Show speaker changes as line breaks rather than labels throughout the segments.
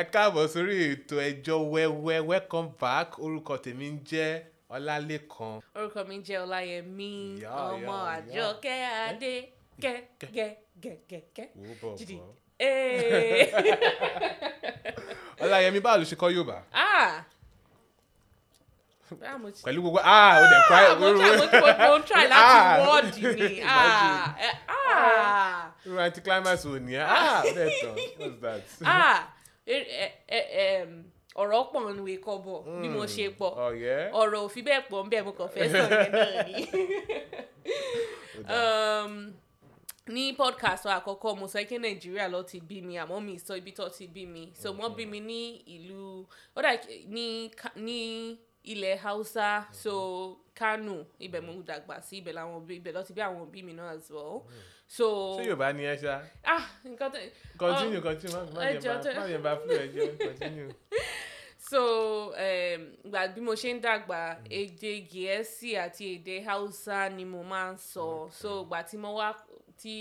ẹ káàbọ̀ sórí ètò ẹjọ́ wẹ́wẹ́ welcome back orúkọ tèmi ń jẹ́ ọlálẹ́kan
orúkọ mi jẹ́ ọláyẹmí
Yá,
ọmọ
yá, yá.
àjọkẹ́ adé kẹ́kẹ́kẹ́kẹ́
wò ó bọ̀
jìdì
bọ̀
ee
ọláyẹmí báwo ló ṣe kọ́ yorùbá
ah báyà mo ti
pẹ̀lú gbogbo ah ó dẹ̀ kọ́
ah mo try mo try mo try láti
Ah.
wọ́ọ̀dì ni ah
Imagine.
eh, ah
irú anticlimax wo ni ẹ́? ah ó dẹ̀ tán what's that.
ah er- eh, eh, em, ọ̀rọ̀ pọ̀ ń wé kọ́ bọ̀ bí mo
Hmm.
ṣe pọ̀ Oh.
ọ̀yẹ́
ọ̀rọ̀ ò fi bẹ́ẹ̀ pọ̀ ń bẹ̀ mo kàn fẹ́ sọ̀rọ̀ ẹ̀ náà ni. um, ní podcast wa àkọ́kọ́ mo sọ pé nàìjíríà ló ti bí mi àmọ́ mi ì sọ ibi tó ti bí mi so wọ́n bí mi ní ìlú ó dà ní Ka- ní ilẹ̀ haúsá so kánò ibẹ̀ mo dàgbà sí ibẹ̀ làwọn òbí- ibẹ̀ ló ti bí àwọn òbí mi náà as well so
ṣé yorùbá ni ẹ ṣá
ah nǹkan um, tẹ
continue continue má- má
Oh. ẹjọ́
yẹn bá-
tẹ-
má yẹn bá fún ẹjọ́ continue.
so um, ìgbà bí mo ṣe ń dàgbà
Mm.
èdè gẹ̀ẹ́sì àti èdè haúsá ni mo máa ń sọ
Mm.
so ìgbà tí mo wá tí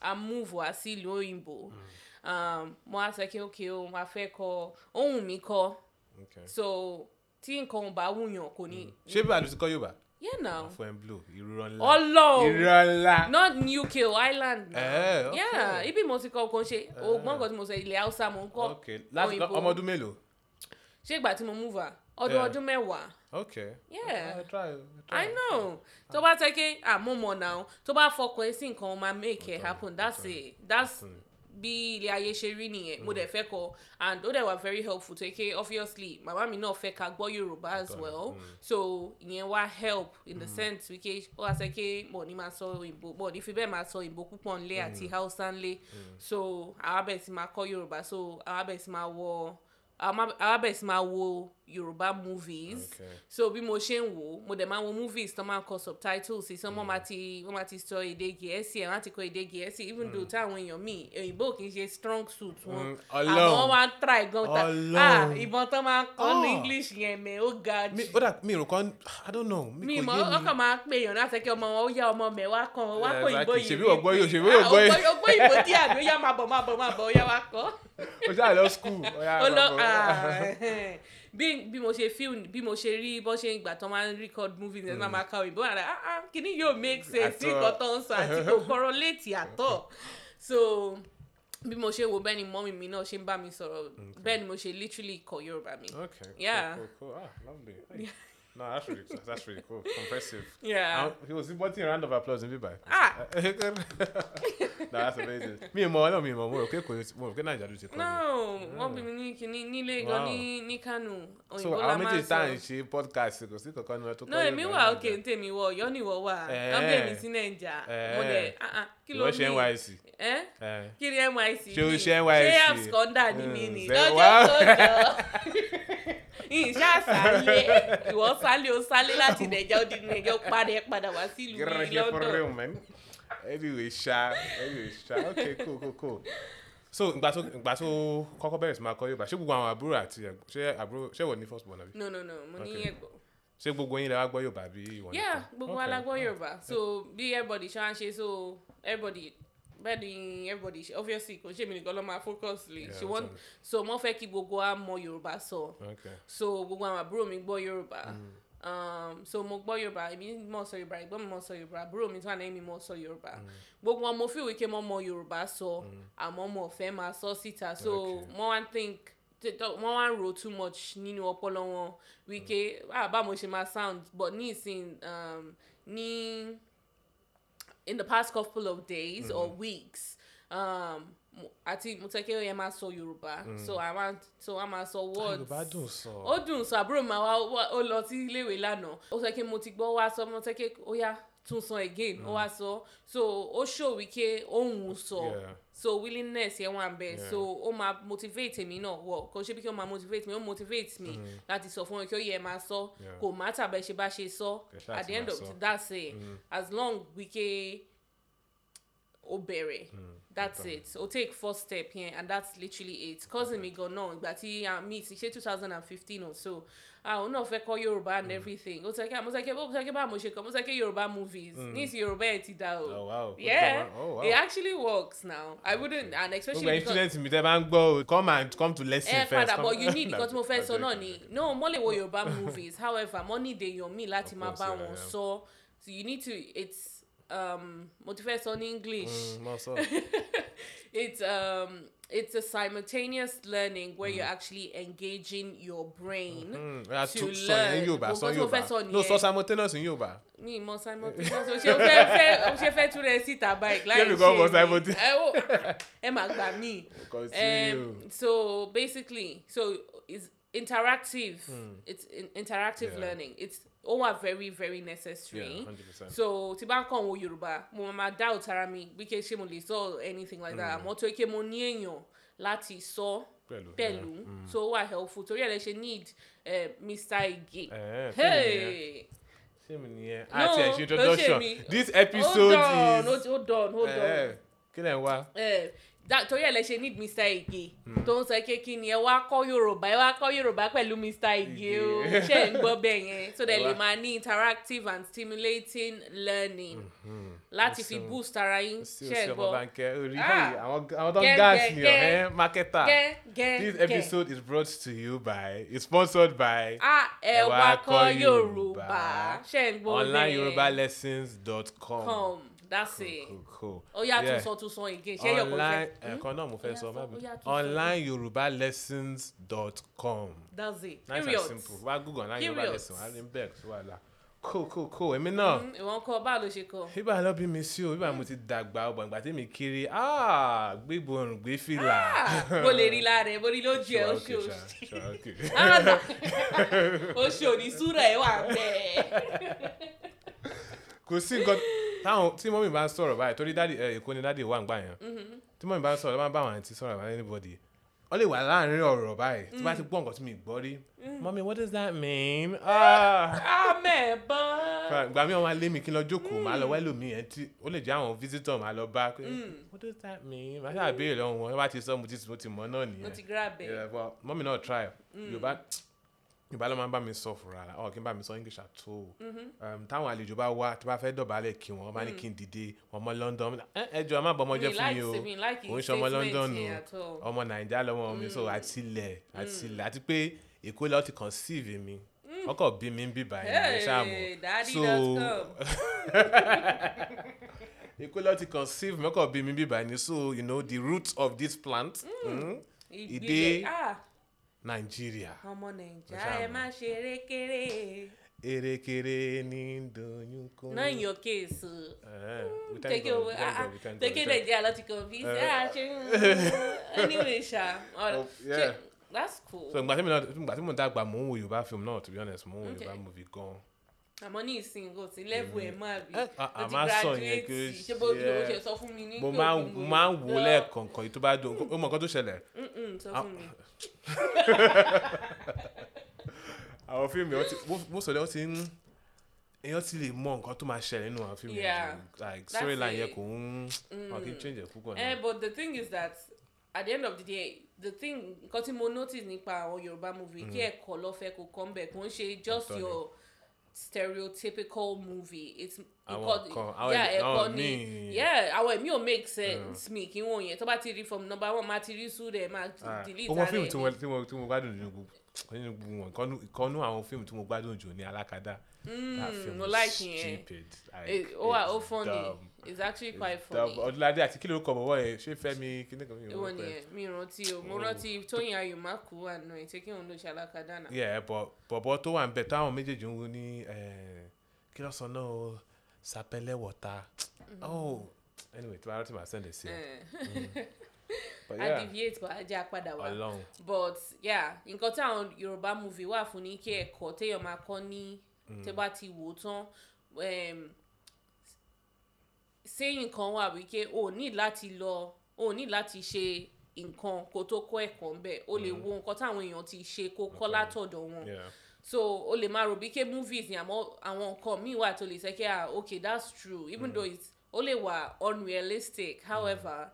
a move wá sí ìlú òyìnbó
Mm.
um, mo á sọ pé ok o máa fẹ́ kọ ohun mi kọ
Okay.
so tí nǹkan ò bá wùyàn kò ní.
ṣé báwo ló ṣe kọ́ yorùbá.
yeah now
fún ẹ blow irọ́ ńlá.
ọlọ́run
irọ́ ńlá.
not uk o island now
Eh, okay.
yeah ibi mo ti kọ kò ń ṣe ògbọ́n kan tí mo sọ ilẹ̀ haúsá mo ń kọ́
ok láti
òyìnbó.
ọmọ ọdún Eh. mélòó.
ṣé ìgbà tí mo move wá ọdún
Yeah.
ọdún mẹ́wàá
ok.
Yeah.
I'll try, I'll try.
I know. Tó bá tẹ́ pé àmọ́ mọ̀ náà tó bá fọkàn ẹ sí nǹkan ó máa make it happen that's it that's bí ilé ayé ṣe rí nìyẹn mo dẹ̀ fẹ́ kọ and ó dẹ̀ wà very helpful tó yẹ pé obviously màmá mi náà fẹ́ ká gbọ́ Yorùbá as well so ìyẹn wá help in the sense wípé ó wá sẹ́ pé mọ̀ ní máa sọ òyìnbó mọ̀ ní fi bẹ́ẹ̀ máa sọ òyìnbó púpọ̀ ńlẹ̀ àti Hausa ńlẹ̀ so àwa bẹ̀rẹ̀ sí máa kọ́ Yorùbá so àwa bẹ̀rẹ̀ sí máa wọ àwa bẹ̀rẹ̀ sí máa wo Yorùbá movies
Okay.
so bí mo ṣe ń wò ó mo dẹ̀ máa ń wo movies tó máa ń kọ subtitles sí so wọ́n
Mm.
máa ti wọ́n máa ti sọ èdè gẹ̀ẹ́sì ẹ̀ wọ́n á ti kọ èdè gẹ̀ẹ́sì even though táwọn èèyàn míì òyìnbó kì í ṣe strong suit wọn
Mm,
àmọ́
Ọlọ́run.
wọ́n máa ń try gan ta ah
Ọlọ́run.
ìbọn tó máa ń kọ́ ní
Ah.
English yẹn mẹ́ ó ga
mi
jù
ó dà mi rò kán i don't know
mi
kò
mọ
yé mi.
ọkàn máa ń pè èèyàn láti kí ọmọ wọn ó yá ọmọ mẹ wá kan wá
Yeah,
kó ìbò
exactly.
yìí
Ṣebí wọ́n gbọ́ yóò- ṣebí
Ah,
wọ́n gbọ́ yóò.
ó gbọ́ ìbò tí àgbẹ̀ ó yá máa bọ̀ máa bọ̀ máa bọ̀ ó yá wá kọ́
o ṣáà lọ school. ó yá,
ó lọ
bàbá.
ah, bí bí mo ṣe feel bí mo ṣe rí bó ṣe ìgbà tó máa ń record movie ẹ̀ máa máa ka òyìnbó àrà ah ah kìíní yóò make sense
At
sí
all.
nǹkan tó ń sọ àti kò correlate àtọ̀ so bí mo ṣe wo bẹ́ẹ̀ ni mọ́mì mi náà ṣe ń bá mi sọ̀rọ̀ bẹ́ẹ̀ ni mo ṣe literally kọ Yorùbá mi.
okay cool,
Yeah.
cool, cool. ah lovely Hey. no that's really that's really cool impressive.
Yeah.
Àwọn- he was wanting a round of applause níbí báyìí.
Ah.
no that's amazing. mi ì mọ ọlọ́run mi ì mọ mo rò pé kò mo rò pé nàìjíríà ló ti kọ́
no
mi.
wọ́n bí mi ní kìíní nílé gan
Hmm. Wow.
ní ní Kano
so
òyìnbó la
àwọn
máa
méjèèjì
ń
tá à ń
sọ.
ṣe podcast kò sí kankan ní wọn tó kọ́
no èmi
Yorùbá
wà
náà.
òkè ń tèmi wọ Ọ̀yọ́ ni ìwọ wà
Eh.
ọbẹ̀ mi sí Nàìjà mo dẹ̀
Eh.
ah ah kí ló
ìwọ ṣe
ní
NYSC.
ẹ́
Eh.
kí ni NYC
Ṣé o
ni?
ṣe NYC?
ṣé absconda ni mí
Mm,
ni
ṣe-
lọ́jọ́
wow.
tó jọ ìṣe àṣàlẹ̀ ìwọ sálẹ̀ o sálẹ̀ láti nàìjà ó di nàìjà ó padà padà wá sílùú
Get
ní
ready for
London
real, man. Anyway, sha. Anyway, sha. Okay, cool, cool, cool. So, ìgbà tó ìgbà tó kọ́kọ́ bẹ̀rẹ̀ sí máa kọ́ Yorùbá, ṣé gbogbo àwọn àbúrò àti ẹ̀gbọ́n- ṣé àbúrò ṣé wọ́n ní first born àbí?
no no no mo ní
Okay.
ẹ̀gbọ́
Ṣé gbogbo yín lè wá gbọ́ Yorùbá bí ìwọ̀n?
yeah gbogbo alágbọ́ Yorùbá so bí everybody ṣe wá ń ṣe so everybody bẹ́ẹ̀ ni everybody ṣe obviously kò ṣe mí nìkan ló máa focus lè
Yeah,
ṣe wọ́n
that's
so wọ́n fẹ́ kí gbogbo wa mọ Yorùbá sọ. So
Okay.
so gbogbo àwọn àbúrò mi gbọ́ yorùbá
Mm.
um, so mo gbọ́ yorùbá èmi mọ̀ sọ yorùbá ẹ̀gbọ́n mi mọ̀ sọ yorùbá àbúrò mi tó wà lẹ́yìn mi mọ̀ sọ yorùbá
Mm.
gbogbo wọn mo fi wíkẹ́ mọ́ mọ yorùbá sọ àmọ́ mo fẹ́ máa sọ síta so
Okay.
wọ́n wá ń think t- t- wọ́n wá ń ro too much nínú ọpọlọ wọn wíkẹ́
Mm.
ah bá mo ṣe máa sound but ní ìsìn um, ní in the past couple of days or
Mm-hmm.
weeks um, mo- àti mo tẹ́ kí ó yẹ máa sọ yorùbá so i want so i máa sọ words
Mm. Ah, Yorùbá dùn sọ.
ó dùn sọ àbúrò màá wá wá- ó lọ sí iléèwé lánàá ó sọ pé mo ti gbọ́ wá sọ mo sọ pé ó yá tún sọ again ó
Mm.
wá sọ so ó ṣòwì pé òun sọ
Yeah.
so willingness yẹn wà bẹ́ẹ̀
Yeah.
so ó máa motivate mi náà wọ kò ṣe bí kí ó máa motivate mi ó motivate mi láti sọ fún mi kí ó yẹ máa sọ
Mm. Yeah.
kò má tàbẹ́ ṣe bá ṣe sọ
Kẹ̀ ṣáà
at
ti
the end
máa
of
sọ. Mm.
that's it as long wike ó bẹ̀rẹ̀
Mm,
that's it ó take first step yẹn and that's literally it cousin mi gan náà ìgbà tí a meet ṣe two thousand and fifteen or so àwọn náà fẹ́ kọ́ yorùbá
Mm.
and everything ó sọ pé mo sọ pé bó sọ pé bá mo ṣe kọ́ mo sọ pé yorùbá movies ní ti yorùbá ẹ̀ ti da
Mm. Oh,
o
wow.
yeah
Oh, wow.
it actually works now i wouldn't and
gbogbo
especially
ẹyin
because
students mi tẹ bá ń gbọ́ o, come and come to lesson
ẹ
first.
padà
come-
but you need nǹkan tí mo fẹ́
I'm
sọ náà
joking.
ni no mo lè wo yorùbá movies however mo need èèyàn mi láti
Of
máa
course,
bá
yeah,
wọn
yeah.
sọ so you need to it's um, mo ti fẹ́ sọ ní english.
Mm, mo sọ.
it's um it's a simultaneous learning where you're actually engaging your brain
Mm, yeah,
to
to- sọ
learn.
yẹn Yorùbá
Gbogbo
sọ
tí mo fẹ́
Yorùbá
sọ nìyẹn.
no sọ simultaneous in Yorùbá.
mi mọ simultaneous o ṣe o fẹ́ fẹ́ o ṣe fẹ́ tú rẹ síta báyìí láì
Kébì kan mọ
ṣe mi.
simultaneous.
ẹ ó ẹ má gbà mí.
Continue.
Um, so basically so it's interactive it's in, interactive
Yeah.
learning it's ó wà very very necessary.
Yeah, 100%.
so tí bá ń kàn wo yorùbá mo máa dá òtara mi wíkẹ́ ṣé mo lè sọ anything like that àmọ́ tó ike mo ní èèyàn láti sọ
Pẹ̀lú, yeah. mm.
pẹ̀lú tó wà helpful torí ẹ̀ lè ṣe need eh, mr igi.
Eh,
Hey!
ṣé mi nìyẹn?
No,
àti ẹ̀ṣin
kò ṣe
introduction
mi.
this
hold
episode
on
is.
hold on hold on.
Eh, kí lẹ̀ ń wá?
Eh, that- torí ẹ̀ lè ṣe need mr igi
Hmm.
tó ń sọ pé kí ni ẹ wá kọ́ yorùbá ẹ wá kọ́ yorùbá pẹ̀lú mr igi o
Ige.
ṣe ń gbọ́ bẹ́ẹ̀ yẹn so that
Ẹ
lè
wá.
máa ní interactive and stimulating learning
Mm-hmm.
láti fi
Awesome.
boost ara yín
sí
ṣe
òsì
ń
ọmọ
gbọ́.
bánkẹ́ orí
Ah.
yìí àwọn àwọn tó ń
Gẹ́,
gáàsì
gẹ́,
ni
gẹ́.
ọ̀hẹ́ mákẹ́tà.
Gẹ́, gẹ́,
This
gẹ́.
episode is brought to you by is sponsored by
Ah, ẹ wá kọ́ Yorùbá. Ṣé ń gbọ́ bẹ́ẹ̀?
onlineyorubalessons.com.
Com, that's it.
Cool, cool.
Ó yà tún
Yeah.
sọ tún sọ again. Ṣé yọ̀kan
online
fẹ́? Hmm?
ẹ̀kan náà mo fẹ́
Ó yá
sọ
sọ,
má
ó
bínú
yá tún sọ.
onlineyorubalessons.com
That's it.
nice
Period.
and simple wá google online yorùbá
Period.
lessons allen beck tó wà lá cool cool cool èmi náà
Mm, Ìwọ̀n kọ́ báà ló ṣe kọ́.
bíbá lọ bí mi sí o bíbá mo ti dàgbà ọgbà ìgbà tí mi kiri ah gbégbó orùn gbé fìlà.
Ah, Mo lè rí lára ẹ̀, mo rí lójú ẹ̀,
Sure,
ó
okay,
ṣe
sure,
òṣì.
sure, okay.
Rárá, ó ṣe òní súrà ẹ̀ wà bẹ́ẹ̀.
kò sí nǹkan táwọn tí mọ́mí bá ń sọ̀rọ̀ báyìí torí dáàdì ẹ̀, èkó ni dáàdì wà ń gbà yẹn
Mm-hmm.
tí mọ́mí bá ń sọ̀rọ̀ bá ń bá àwọn àǹtí sọ̀rọ̀ about anybody ó lè wà láàrin ọ̀rọ̀ báyìí tí
Mm.
bá ti gbọ́ nǹkan tí mi gbọ́ rí mọ́mí what does that mean? Ah.
Amẹ̀ bọ́.
gbà mí ọmọ alẹ́ mi kí n lọ jókòó màá lọ wẹ́lò mi yẹn tí ó lè jẹ́ àwọn visitor màá lọ bá pé
Hmm.
what does that mean? màá ṣàbẹ̀yẹ̀ lọ́wọ́ wọn bá ti sọ mo ti mo ti mọ̀ náà
Mo
nìyẹn
ti Hmm. grab ẹ̀.
yeah, but mọ́mí náà try yorùbá yorùbá ló máa ń bá mi sọ fúnra rà ọ kí n bá mi sọ english at all
Mm-hmm.
um, táwọn àlejò bá wá tí bá fẹ́ dọ̀bálẹ̀ kí wọn máa ní kí n dìde ọmọ london "Eh, ẹ ẹ jọ ẹ má bọ ọmọ jẹ fún mi o
mi Hmm. like
òun
his
ṣe ọmọ london
statement yẹn at all.
o ọmọ nàìjíríà lọmọ mi so
Mm.
àtìlẹ àtìlẹ àti pé èkó lọ ti conceive mi ọkọ bí mi ń bí báyìí ẹ ṣáà
Mm. Hey, daddy dot
mọ̀
com.
so èkó lọ ti conceive mi ọkọ bí mi ń bí báyìí so you know the root of this plant. Mm
Ìgbìlẹ̀. Ah,
nàìjíríà
ọmọ nàìjíríà
ṣáà
ẹ
mọ̀.
má ṣe rékéré.
erékeré ní doyún kún.
Not in your case. Uh,
Eh, we thank
take it
God,
over.
we thank
Ah,
God, we
ah,
thank God,
take
we
it
thank-
there. Lot of confused.
Eh.
Ah, she- anyway, sha. All
Oh,
right.
yeah.
She- That's cool.
so ìgbà tí mo náà ìgbà tí mo dàgbà mò ń wo yorùbá film náà to be honest mò ń wo
Okay.
yorùbá movie gan.
Àmọ́ ní ìsìn kò sí level ẹ̀ máa bí.
Eh, ah,
Mo
ah,
ti
má sọ yẹn
graduate.
kí o
Ṣé bó ló
ṣe-
ṣe sọ fún mi ní
mo
pé
máa
òun
ń
gbogbo-
máa ń wò
Lọ.
lẹ́ẹ̀kọ̀ọ̀kan yìí tó bá dùn ó mọ nǹkan tó ṣẹlẹ̀
Mm-mm, Sọ
Ah.
fún mi.
àwọn fíìmù yẹn mo sọ lẹ́wọ́n ti ń èèyàn ti lè mọ nǹkan tó máa ṣẹlẹ̀ nínú àwọn fíìmù
Yeah,
yẹn like storyline
it. Mm.
yẹn kò ń wọn kì í change ẹ̀ púpọ̀
Eh,
náà.
but the thing is that at the end of the day the thing nkan tí mo notice nípa àwọn yorùbá movie kí
Mm.
ẹ̀kọ́ lọ fẹ́ kó come back kò ń ṣe just
Ọ̀tọ̀ ni.
your stereotypical movie it's
Àwọn
nǹkan-
kan- àwọn
yeah
ẹ̀mí-
ẹ̀kọ́
àwọn míì-
ni yeah àwọn ẹ̀mí ò make sense mi kí wọ́n yẹn tó bá ti rí from number one máa ti rí sùn rẹ̀ máa
Ah,
delete
ọmọ
ara
fíìmù tí
ẹ̀
mo tí mo tí mo gbádùn nínú gbogbo nínú gbogbo wọn ìkọ́nú ìkọ́nú àwọn fíìmù tí mo gbádùn jù ní alákadá. That film
Mm, mo
is
like yẹn.
stupid, like,
It- Eh, ó wà ó
it's
funny
dumb,
it's actually
it's
quite
dumb.
funny
ọdúnládé àti kí lórúkọ bọ̀bọ̀ yẹn ṣé fẹ́mi kíní kan mi ò mọ̀
èwo
pé.
nìyẹn mi rántí o mo
Oh.
rántí tóyìn ayò má kú àná ẹ̀ ṣé kí òun ló ṣe alákadá náà.
yeah bọ̀ bọ̀bọ̀ tó wà ń bẹ̀ táwọn méjèèjì ń wo ní eh, kí ló sọ náà o sapẹ́lẹ́ wọ̀ta oh anyway tí wàá rántí màá sẹ́ndẹ̀ sí ẹ.
Mm-hmm. Eh.
But
yeah.
yeah,
adeviate but ajá padà wá
Ọlọ́run
but yeah nǹkan táwọn yorùbá movie wà fún ní kí ẹ̀kọ́ téèyàn máa kọ́ ní tẹ́ bá ti wò ó tán um, saying kan wà wípé o ò ní láti lọ o ò ní láti ṣe nǹkan kó tó kọ́ ẹ̀kọ́ ńbẹ̀ o lè wo nǹkan táwọn èèyàn ti ṣe kó kọ́ látọ̀dọ̀ wọn
yeah
so o lè máa rò bí ké movies ni àmọ́ àwọn nǹkan míì wà tó lè
Mm.
sẹ́ kí ah okay that's true even mm. though it's ó lè wà unrealistic however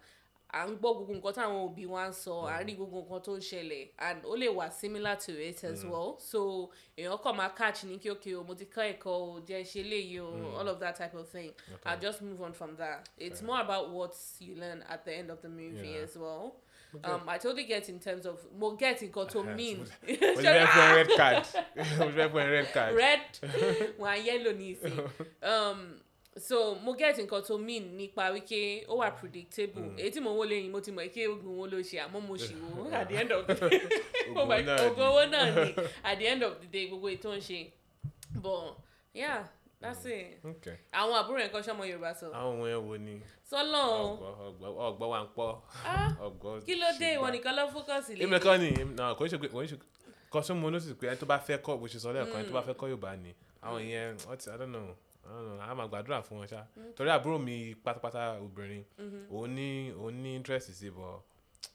à ń gbọ́ gbogbo nǹkan táwọn òbí wa ń sọ à ń
Mm.
rí gbogbo nǹkan tó ń ṣẹlẹ̀ and ó lè wà similar to it as
Mm.
well so èèyàn kàn máa catch ní kí okay o mo ti kọ́ ẹ̀kọ́ o jẹ́ ṣe léyìí o all of that type of thing
Mm. Okay.
i just move on from that it's more about what you learn at the end of the movie
Yeah.
as well um, i totally get in terms of mo get nǹkan tó
Uh-huh.
mean
mo ti fẹ́ fún ẹ red card mo ti fẹ́ fún ẹ red card.
red wọn á yellow ní ìsìn um, so mo get nǹkan tó mean nípa wípé ó wà predictable
Hmm.
èyí tí mo wó lẹ́yìn mo ti mọ̀ pé oògùn wo ló ṣe àmọ́ mo ṣì wo at the end of the day
Oògùn
oh my
náà ni.
oògùn owó náà ni at the end of the day gbogbo ètò ń ṣe but yeah that's
Hmm.
it
Okay.
àwọn àbúrò ẹ̀kọ́ sọmọ yorùbá sọ
àwọn ohun ẹ wo ni
sọlọ
ọgbọ ọgbọ ọgbọ wa ń pọ
ah
ọgbọ
Oh. kí ló dé
ṣùgbọ́n-
ìwọ nìkan ló fókọ̀sì lé
èmi kan ni èmi- náà kò ń ṣe pé kò ń ṣe kan sún mo notice pé ẹni tó bá fẹ́ kọ́ bó ṣe sọ lẹ́ẹ̀kan ẹni tó bá fẹ́ kọ́ Yorùbá ni àwọn ìyẹn wọ́n ti I don't know I don't know a máa gbàdúrà fún wọn ṣá torí àbúrò mi pátápátá obìnrin òun ní òun ní interest sí bọ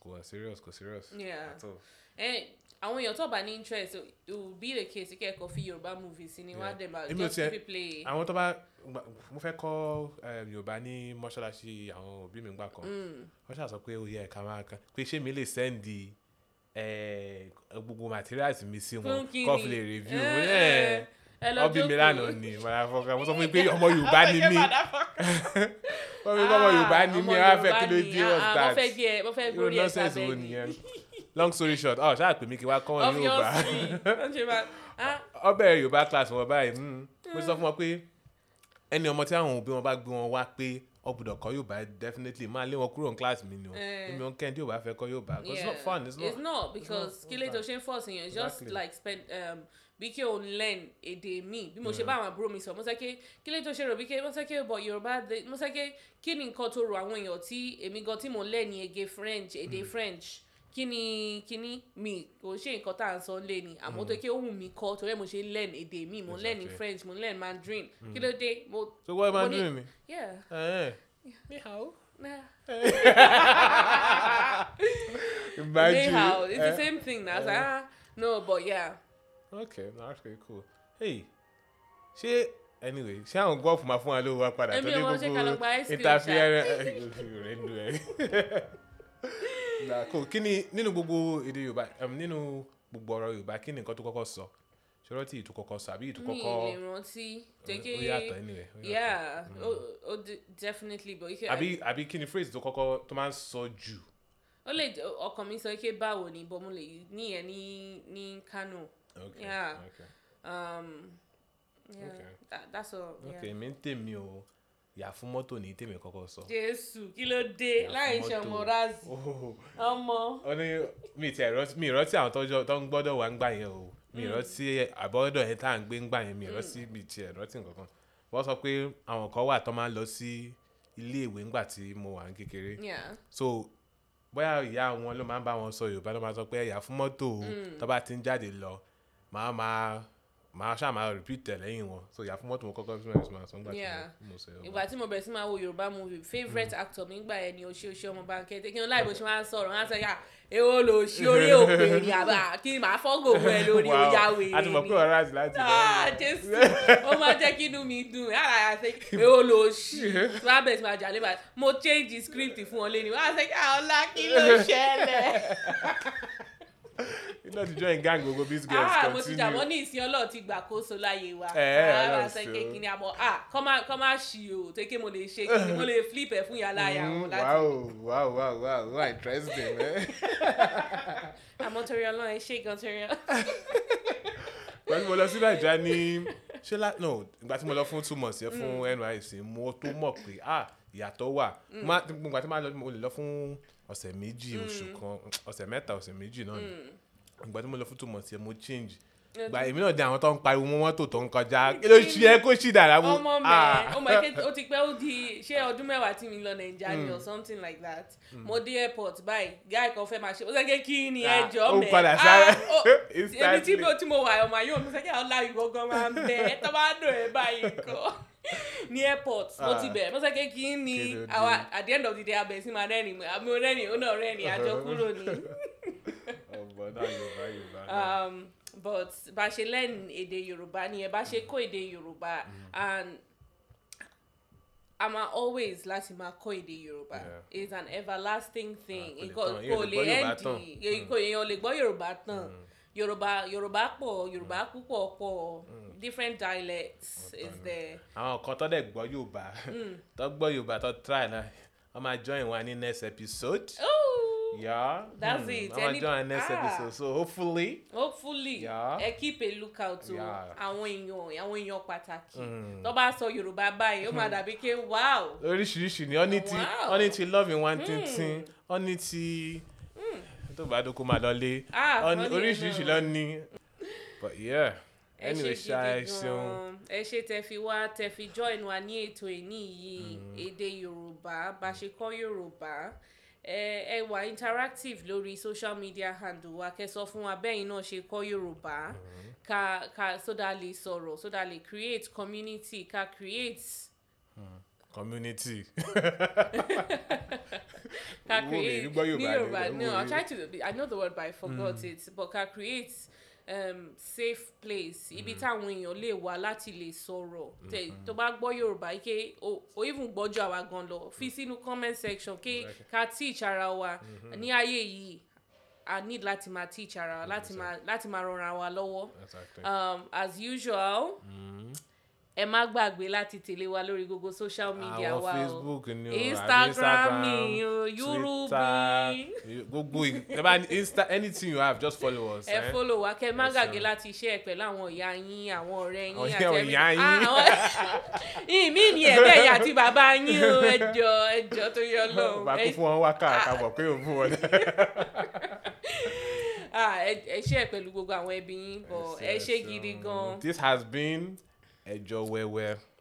kò wà serious kò serious
Yeah.
at all.
Eh, àwọn èèyàn tó bá ní interest it will be the case kẹ́kọ̀ọ́ fi yorùbá movies sí ni wọ́n á
Yeah.
dẹ̀ máa
Èmi ò
just
tiẹ̀-
keep it play.
àwọn tó bá gba- mo fẹ́ kọ́ eh, Yorùbá ní mọ́ṣáláṣí àwọn òbí mi gbà kan
Mm.
wọ́n ṣàṣọ pé ó yẹ ká máa kan pé ṣé mi lè sẹ́ndì gbogbo materials mi sí wọn
Fún
kọ́
kíni?
fi lè Bon, review
Eh,
wọn
eh, ẹ lọ
ọbí mi
jókòó.
lánàá ni mọ̀láfọ́ká wọ́n sọ fún mi pé ọmọ Yorùbá ni mí wọ́n fi kọ́ ọmọ
Ah,
Yorùbá ni mí wọ́n á fẹ́ kí ló
ni,
dé
ah, ah, wọ́n
what's
fẹ́
that
gbé ẹ wọ́n fẹ́
irú
gbórí ẹ
nonsense
sábẹ́
wo
ni
nìyẹn long story short ọ̀ ṣáà pè mí kí wá kọ́ wọn Yorùbá
obviously wọ́n ṣe máa ah
ọbẹ̀ Yorùbá class wọn báyìí mm, mo sọ
Hmm.
fún wọn pé ẹni ọmọ tí àwọn òbí wọn bá gbé wọn wá pé ọgbọdọ̀ kọ́ Yorùbá definitely máa lé wọn kúrò ní class mi ni o
Eh.
èmi ò ń kẹ́ni tí Yorùbá fẹ́ kọ́ Yorùbá 'cause it's not
yeah.
fun it's not
it's not because
it's
kí lè
not
tó ṣe ń force èèyàn just
Exactly.
like spend um, bí kí o learn èdè mi bí mo ṣe bá àwọn àbúrò mi sọ mo sọ pé kí lè tó ṣe rò bí kí mo sọ pé but yorùbá they- mo sọ pé kí ni nǹkan tó rò àwọn èèyàn tí èmi gan tí mo ń learn ní ege french èdè
Mm.
french kí ni kí ni mi kò ṣe nǹkan tá à ń sọ lé ni àmọ́ tó kí ó wù mí kọ́ torí ẹ̀ mo ṣe ń learn èdè mi mo ń learn
Mm.
ní
Exactly. Mm.
french mo ń learn mandarin kí ló dé mo
so what am I
What do you-
doing ni.
yeah
Eh,
nah.
eh. Imagine.
anyhow it's the
eh.
same thing na I was like ah no but yeah.
Okay, no, that's pretty cool. Hey, ṣé anyway ṣé àwọn gọ́ọ̀fù máa fún wa lówó wa padà
Èmi ò mọ̀, ṣé ká lọ gba ice cream
interfere- eh, rẹ̀ ń lu ẹ̀. Nah, cool. Kí ni nínú gbogbo èdè Yorùbá um, nínú gbogbo ọ̀rọ̀ Yorùbá kí ni nǹkan tó kọ́kọ́ sọ? Ṣọ́rọ́ tí ìtú kọ́kọ́ sọ àbí ìtú
mi
kọ́kọ́
lè rántí
ó yàtọ̀
jẹ́kẹ́
anyway. ó yàtọ̀.
yeah o o de- definitely but ike
Mm. Àbí àbí kí ni phrase tó kọ́kọ́ tó máa ń sọ jù?
o lè ọkàn mi sọ ike báwo ni bọ́ mo lè ní ẹ ní ní Kano
Okay,
Yeah.
okay.
um yeah
Okay.
that, that's all
ok
yeah.
mi ń tèmi o yà fún mọ́tò ní tèmi kọ́kọ́ sọ.
Jésù kí ló dé láì ṣe ọmọ razi
Oh,
ọmọ
ó ní mi ti ẹ̀rọ- mi ìrántí àwọn tọ́jọ́ tó ń gbọ́dọ̀ wá ń gbà yẹn o mi
Mm.
ìrántí àbọ̀dọ̀ yẹn tá à ń gbé ń gbà yẹn mi ìrántí mi ti ìrántí nǹkankan wọ́n sọ pé àwọn kan wà tó máa ń lọ sí ilé ìwé ńgbà tí mo wà ní kékeré
yeah
so bóyá ìyá wọn ló máa ń bá wọn sọ Yorùbá ló máa sọ pé ẹ̀yà fún mọ́tò o
Mm.
tó bá ti ń jáde lọ màá máa màá ṣáà máa repeat ẹ̀ lẹ́yìn wọn so ìyá fún mọ́tò mo kọ́kọ́ fi máa sọ ńgbà tí
Yeah.
mo- mo sọ Yorùbá.
ìgbà tí mo bẹ̀rẹ̀ sí máa wo Yorùbá movie
Mm.
favourite actor mi gbà yẹn ni oṣù oṣù ọmọ Bankole kí n láì bó ṣe máa ń sọ̀rọ̀ wọn á sọ yà èwo lò ṣí orí òpè ní àbá "Ah, kí n máa fọ́gò fún ẹ lórí ó yá wèrè ni.
a ti mọ̀ pé ọ̀rá àti láti
Ah, Jésù, ó máa jẹ́ kí inú mi dùn Ah, yàrá yà sẹ́ pé ó lò sí tí wàá bẹ̀rẹ̀ sí máa jà lébà mo change script fún ọ lẹ́nu wàá sẹ́ kí àwọn "Ah, ọlá kí ló ṣẹlẹ̀
iná ti join gang gbogbo biz girls
ah mo ti jà
continue
wọ́n ní ìsìn ọlọ́ọ̀ ti gbà kó so láyé wa
Eh,
Ah, wàá
Ọlọ́run
sẹ́
ṣe
kí
o.
kí ni àmọ́ ah kọ́ má kọ́ má ṣì o tó kí mo lè ṣe kí ni mo lè flip ẹ̀ fún yàrá yà wọn láti
Mm, wow wow wow wow wow interesting eh?
àmọ́ torí ọlọ́run ẹ ṣe gan torí ọlọ́run.
pẹ̀lú mo lọ sí nàìjíríà ní ṣé lá no ìgbà tí mo lọ fún two months yẹn
Hmm.
fún NYSC mo tó mọ̀ pé ah ìyàtọ̀ wà Má- ìgbà tí mo lọ mo lè lọ fún ọ̀sẹ̀ méjì
Hmm.
oṣù kan ọ̀sẹ̀ mẹ́ta ọ̀sẹ̀ méjì náà ni ìgbà tí mo lọ fún two months yẹn mo change ìgbà èmi náà di àwọn tó ń pariwo mọ́ mọ́tò tó ń kọjá kí ló ṣe é kó ṣì dára mú
ọmọ
Ah.
mẹ ọmọ ẹkẹ ó ti pẹ́ ó di ṣé ọdún mẹ́wàá tí mi lọ nàìjíríà
Hmm.
ni or something like that mo dé airport báyìí guy kan fẹ́ máa ṣe ó sọ pé kí ni
Ah,
ẹjọ́
ó
mẹ́
padà sáré
èmi tí
instantly.
mo tí mo wà ọmọ ayé òun sọ pé ọlá ìwọ gan máa ń bẹ tó bá dùn ẹ báyìí kọ́ ní airport mo ti
Ah.
bẹ̀rẹ̀ mo sọ pé kí ni
Kí ló dé?
àwa at the end of the day abẹ sí máa rẹ́rìn mi ò rẹ́rìn ó náà rẹ́rìn àjọ kúrò ní
ọmọ náà yorùbá yorùbá náà.
um, but bá a ṣe
Mm.
learn èdè yorùbá nìyẹn bá a ṣe kó èdè yorùbá and I'm always láti máa kọ́ èdè Yorùbá
Yeah.
it's an everlasting thing
Ah, kò lè
nǹkan
tán. Èèyàn lè gbọ́ Yorùbá tán. Mm.
kò lè ẹ́ndì Èèyàn kò èèyàn lè gbọ́ Yorùbá tán Yorùbá Yorùbá pọ̀ Yorùbá
Mm.
púpọ̀ pọ̀ different dialects is there
àwọn kan tó dẹ̀ gbọ́ yorùbá
Hmm.
tó gbọ́ yorùbá tó try náà wọ́n máa join wa ní next episode.
Ooh,
Yeah.
Oh, That's
Hmm.
it.
wọ́n máa
Any-
join wa next
Ah.
episode so hopefully.
hopefully
Yeah.
ẹ keep a lookout o
Yeah.
àwọn èèyàn àwọn èèyàn pàtàkì
Mm.
tó bá sọ Yorùbá báyìí ó máa dàbí pé wow
oríṣiríṣi ni wọ́n ní ti
Wow.
wọ́n ní ti love in one
Hmm.
tintin wọ́n ní ti tó bá dókó máa lọlé
Ah,
Wọ́n ní-
funny
oríṣiríṣi
enough.
lọ ní. but yeah
ẹ ṣe
anyway
gidi
ṣá ẹ ṣeun
gan-an. ẹ ṣe tẹ fi wá tẹ fi join wa ní ètò ìní yìí èdè yorùbá bá ṣe kọ́ yorùbá ẹ ẹ wà interactive lórí social media handle wa kẹsọ fún wa bẹ́yìn náà ṣe kọ́ yorùbá ká ká sódà lè sọ̀rọ̀ sódà lè create community ká create
community.
ká
Wò mí,
create
gbígbọ́ Yorùbá
ní
ni,
yorùbá
wò
no i
mí.
try to i know the word but i forgot
Mm.
it but ká create um, safe place
Mm.
ibi táwọn èèyàn lè wá láti lè sọ̀rọ̀ Tẹ-
Mm-hmm.
tó bá gbọ́ yorùbá ike o o even gbọ́jú àwa gan lọ fi sínú comment section ké
Mm. Exactly. Mm-hmm.
ká teach ara wa ní ayé yìí i need láti máa teach ara wa láti máa láti máa ran ara wa lọ́wọ́
Exactly.
um, as usual
Mm-hmm.
ẹ má gbàgbé láti tẹ̀lé wa lórí gbogbo social media
àwọn
wa o
facebook ni o àbí
Instagram ni o,
Twitter,
Yurubi.
gbogbo ẹ bá ní insta anything you have just follow us.
ẹ
eh?
fọlọ wa kẹ má
Yes,
gàgé
sir.
láti ṣe ẹ pẹ̀lú àwọn ìyá yín àwọn ọ̀rẹ́ yín
Àwọn
àti
ìyá-
ẹbí-
ìyá yín.
Ah, àwọn- ìmí ni ẹ̀bẹ̀ ìyá àti bàbá yín o ẹjọ ẹjọ tó yọ lọ́hùn
bá kú fún wọn wákà àkàbọ̀ pé òun fún wọn.
ah, ẹ ṣe ẹ pẹ̀lú gbogbo àwọn ẹbí yín bọ̀ ẹ ṣe gidi gan
this has been ẹjọ wẹwẹ.